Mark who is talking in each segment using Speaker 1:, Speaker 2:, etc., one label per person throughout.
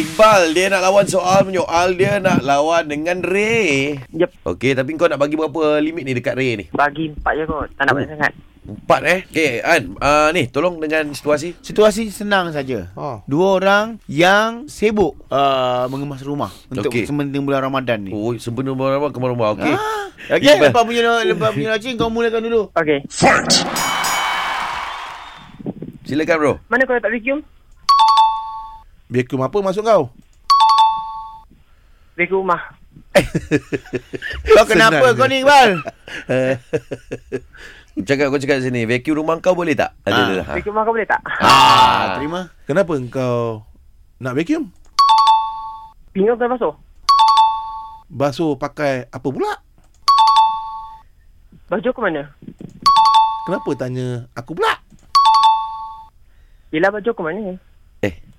Speaker 1: Iqbal dia nak lawan soal menyoal dia nak lawan dengan Ray.
Speaker 2: Yep.
Speaker 1: Okey tapi kau nak bagi berapa limit ni dekat Ray ni?
Speaker 2: Bagi empat je kot. Tak nak banyak sangat.
Speaker 1: Empat eh. Okey An uh, ni tolong dengan situasi.
Speaker 3: Situasi senang saja.
Speaker 4: Ha.
Speaker 3: Dua orang yang sibuk uh, mengemas rumah untuk
Speaker 1: Okey.
Speaker 3: okay. sementing bulan Ramadan ni.
Speaker 1: Oh sebelum rumah ke rumah. Okey.
Speaker 3: Ah,
Speaker 1: Okey,
Speaker 3: okay, lepas punya lepas punya lacin kau mulakan dulu.
Speaker 2: Okay.
Speaker 1: Silakan bro.
Speaker 2: Mana kau letak vacuum?
Speaker 4: Vacuum apa masuk kau?
Speaker 2: Vacuum rumah.
Speaker 3: Kau kenapa
Speaker 4: Senang
Speaker 3: kau
Speaker 4: je.
Speaker 3: ni Iqbal?
Speaker 1: Cakap kau cakap sini vacuum rumah kau boleh tak? Ada
Speaker 3: Ah.
Speaker 1: ada. Ha.
Speaker 2: Vacuum rumah kau boleh tak?
Speaker 3: Ah, terima.
Speaker 4: Kenapa engkau nak vacuum?
Speaker 2: Pinggan kau dah basuh?
Speaker 4: Basuh pakai apa pula?
Speaker 2: Baju aku mana?
Speaker 4: Kenapa tanya aku pula?
Speaker 2: Yelah baju aku mana?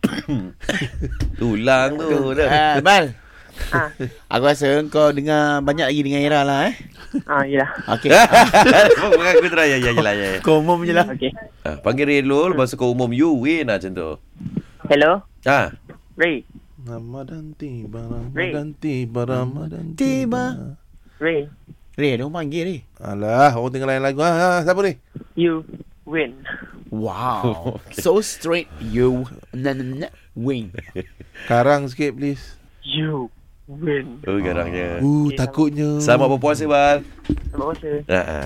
Speaker 1: Tulang tu. dah.
Speaker 3: Ah, Iqbal.
Speaker 2: Ah,
Speaker 3: Aku rasa kau dengar banyak lagi dengan Ira lah eh.
Speaker 2: ah yelah.
Speaker 3: Okey.
Speaker 1: Aku try ya ya ya ya. ya.
Speaker 3: kau umum je lah.
Speaker 2: Okay.
Speaker 1: Ah, panggil Ray dulu lepas tu kau umum you win lah macam tu.
Speaker 2: Hello?
Speaker 1: Ha.
Speaker 2: Ray.
Speaker 4: Ramadan tiba,
Speaker 2: Ray.
Speaker 4: Ramadan tiba, Ramadan
Speaker 3: Tiba.
Speaker 4: tiba.
Speaker 2: Ray.
Speaker 3: Ray, dia orang panggil Ray.
Speaker 4: Alah, orang tengah lain lagu. Ha, ha, siapa ni?
Speaker 2: You win.
Speaker 3: Wow. So straight you na na na wing.
Speaker 4: Karang sikit please.
Speaker 2: You win.
Speaker 1: Oh garangnya.
Speaker 3: Ah.
Speaker 4: Uh, takutnya.
Speaker 1: Selamat berpuasa bal.
Speaker 2: Selamat puasa.
Speaker 1: Ha. ha.